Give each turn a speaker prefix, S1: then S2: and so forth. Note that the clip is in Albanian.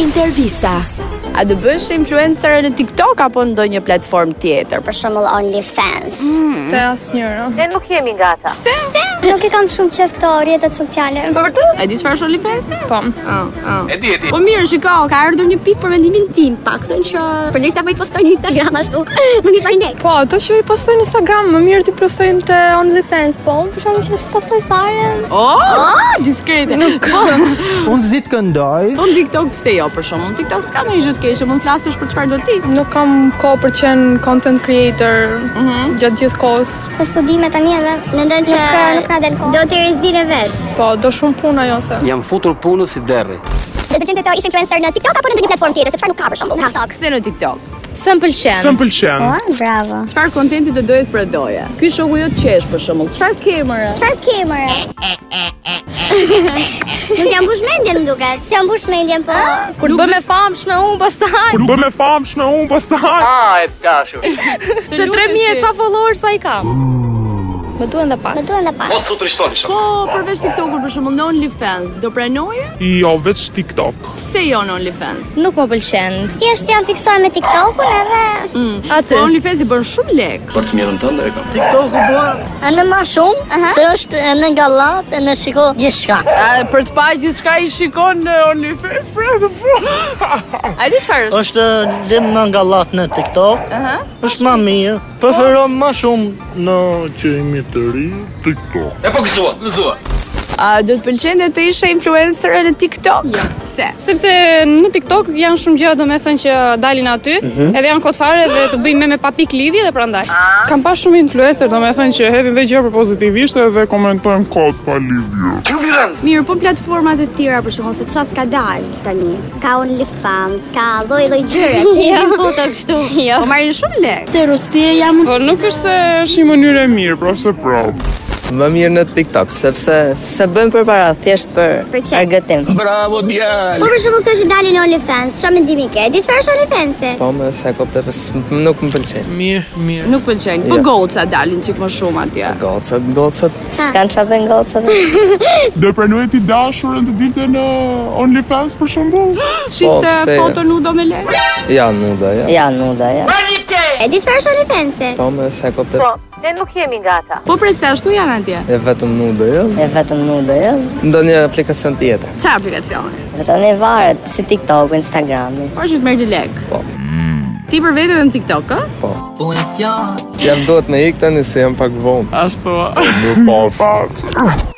S1: Intervista.
S2: A do bësh influencer në TikTok apo në ndonjë platformë tjetër?
S3: për shembull OnlyFans.
S4: Te asnjëra.
S5: Ne nuk jemi gata.
S3: Nuk e kam shumë qef këto rrjetet sociale.
S2: Po vërtet? E di çfarë është OnlyFans?
S4: Po.
S2: Oh, oh.
S6: E di, e di.
S2: Po mirë, shiko, ka ardhur një pikë për vendimin tim, paktën që
S7: Për lejsa po i postoj në Instagram ashtu Më një farë lek
S4: Po, ato që i postoj në Instagram, më mirë ti postojnë te OnlyFans, po, unë për shkak që s'postoj fare.
S2: Oh, diskrete. Nuk po.
S8: Unë zit këndoj.
S2: Po në TikTok pse jo për shkakun? TikTok s'ka ndonjë gjë të keqe, mund të flasësh për çfarë do ti.
S4: Nuk kam kohë për të qenë content creator gjatë gjithë kohës.
S3: Po studime tani edhe
S7: Mendoj që
S3: nuk ka- nuk na del kohë.
S7: do të rrezire vet.
S4: Po, do shumë punë ajo se.
S6: Jam futur punës si derri.
S7: Dhe të të ishin influencer në TikTok apo në ndonjë platformë tjetër, se çfarë nuk ka për shembull në TikTok.
S2: Pse në TikTok?
S4: Se m'pëlqen.
S9: Së më pëlqen.
S3: Po, bravo.
S2: Çfarë kontenti do doje të prodoje? Ky shoku jot qesh për shembull. Çfarë ke mëre?
S3: Çfarë ke mëre?
S7: Nuk jam mbush mendjen më duket. Ah,
S3: Si jam mbush mendjen po?
S4: Kur të bëme famshme unë pastaj.
S9: Kur bëm e famshme unë pastaj.
S6: A, e dashur.
S2: Po,
S4: Se 3000 ca followers sa i kam. Më duhen dhe pak.
S3: Më duhen Po dhe pak.
S6: Mos u trishtoni shumë.
S2: Po, përveç TikTokut për shembull në OnlyFans, do pranoje?
S9: Jo, veç TikTok.
S2: Pse jo në OnlyFans?
S4: Nuk më pëlqen.
S3: Thjesht jam fiksuar me TikTokun edhe
S2: Aty. Po, OnlyFans i bën shumë lek.
S6: Për të mirën tënde e kam.
S10: Në ma shumë, se është në gallat, në shiko gjithçka.
S2: A, për të pa gjithçka i shikon në OnlyFans pra të po. A di çfarë është?
S10: është dhe më gallat në TikTok,
S2: Aha.
S10: është më mirë.
S8: Preferon më shumë në qëjmi të ri TikTok.
S6: E po gëzua, gëzua.
S2: A do të pëlqente të ishe influencer në TikTok? Jo. Pse?
S4: Sepse në TikTok janë shumë gjëra do me thënë që dalin aty, edhe janë kot fare dhe të bëjnë meme pa pik lidhje dhe prandaj.
S9: Kam pas shumë influencer, domethënë që hedhin dhe gjëra për pozitivisht edhe komentojnë kod pa lidhje.
S6: Ju mirën.
S2: Mirë, po platformat e tjera për shkakun se çfarë ka dalë tani.
S3: ka OnlyFans, ka lloj-lloj gjëre.
S7: Jo, foto kështu. Jo.
S2: Po marrin shumë lek.
S10: Se rostie jam
S9: Po nuk është se është një mënyrë e mirë, pra se prap.
S10: më mirë në TikTok, sepse se bëjmë për para, thjesht për
S3: Për çe?
S10: argëtim.
S6: Bravo djalë.
S3: Po për shembull këto që dalin në OnlyFans, çfarë mendimi ke? Di çfarë është OnlyFans?
S10: Po më sa kopte, pës, nuk më pëlqen.
S8: Mirë, mirë.
S2: Nuk pëlqejnë. Po
S10: Jo.
S2: goca dalin çik më shumë atje.
S10: Gocat, gocat.
S3: S'kan çfarë ngocën.
S9: Do e pranoj ti dashurën të dilte në OnlyFans për shembull?
S2: Çiste
S10: pse?
S2: foto nudo me lek.
S10: Ja, nuda, ja.
S1: Ja, nuda, ja.
S3: E di çfarë është OnlyFans?
S10: Po më sa kopte,
S5: Po, ne nuk jemi gata.
S2: Po pse ashtu janë atje?
S10: e vetëm nuda, ja.
S1: E vetëm nuda, ja.
S10: Ndonjë aplikacion tjetër.
S2: Çfarë aplikacione?
S1: Vetëm e varet si TikTok, Instagrami.
S2: Po që të merr ti lek.
S10: Po.
S2: Ti për vetë dhe në TikTok, ë?
S10: Po. Jam duhet me ikë tani se jam pak vonë.
S9: Ashtu. Nuk pa fat.